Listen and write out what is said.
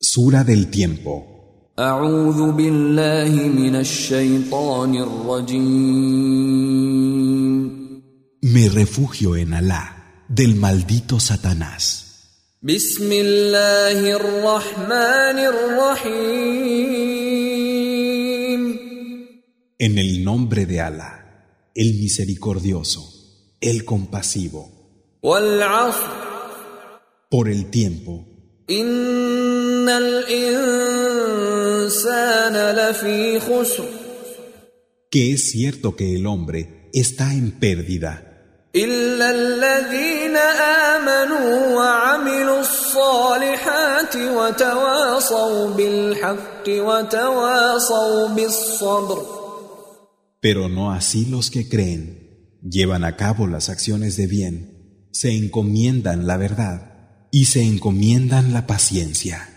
Sura del tiempo. أعوذ بالله من الشيطان الرجيم Me refugio en Alá, del maldito Satanás. بسم الله الرحمن الرحيم En el nombre de Alá, el misericordioso, el compasivo. والعصر Por el tiempo, إن الإنسان لفي خسر que es cierto que el hombre está en pérdida, إلا الذين آمنوا وعملوا الصالحات وتواصوا بالحق وتواصوا بالصبر pero no así los que creen, llevan a cabo las acciones de bien, se encomiendan la verdad y se encomiendan la paciencia.